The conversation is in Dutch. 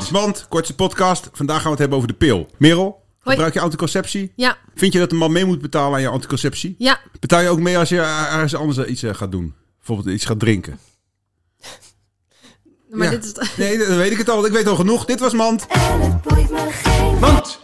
is Mand, kortste podcast. Vandaag gaan we het hebben over de pil. Merel, gebruik je anticonceptie? Ja, Vind je dat een man mee moet betalen aan je anticonceptie? ja. Betaal je ook mee als je ergens anders iets eh, gaat doen? Bijvoorbeeld iets gaat drinken? Maar Ja. dit is... Nee, dan weet ik het al. want Ik weet al genoeg. Dit was Mand. En het boeit me geen.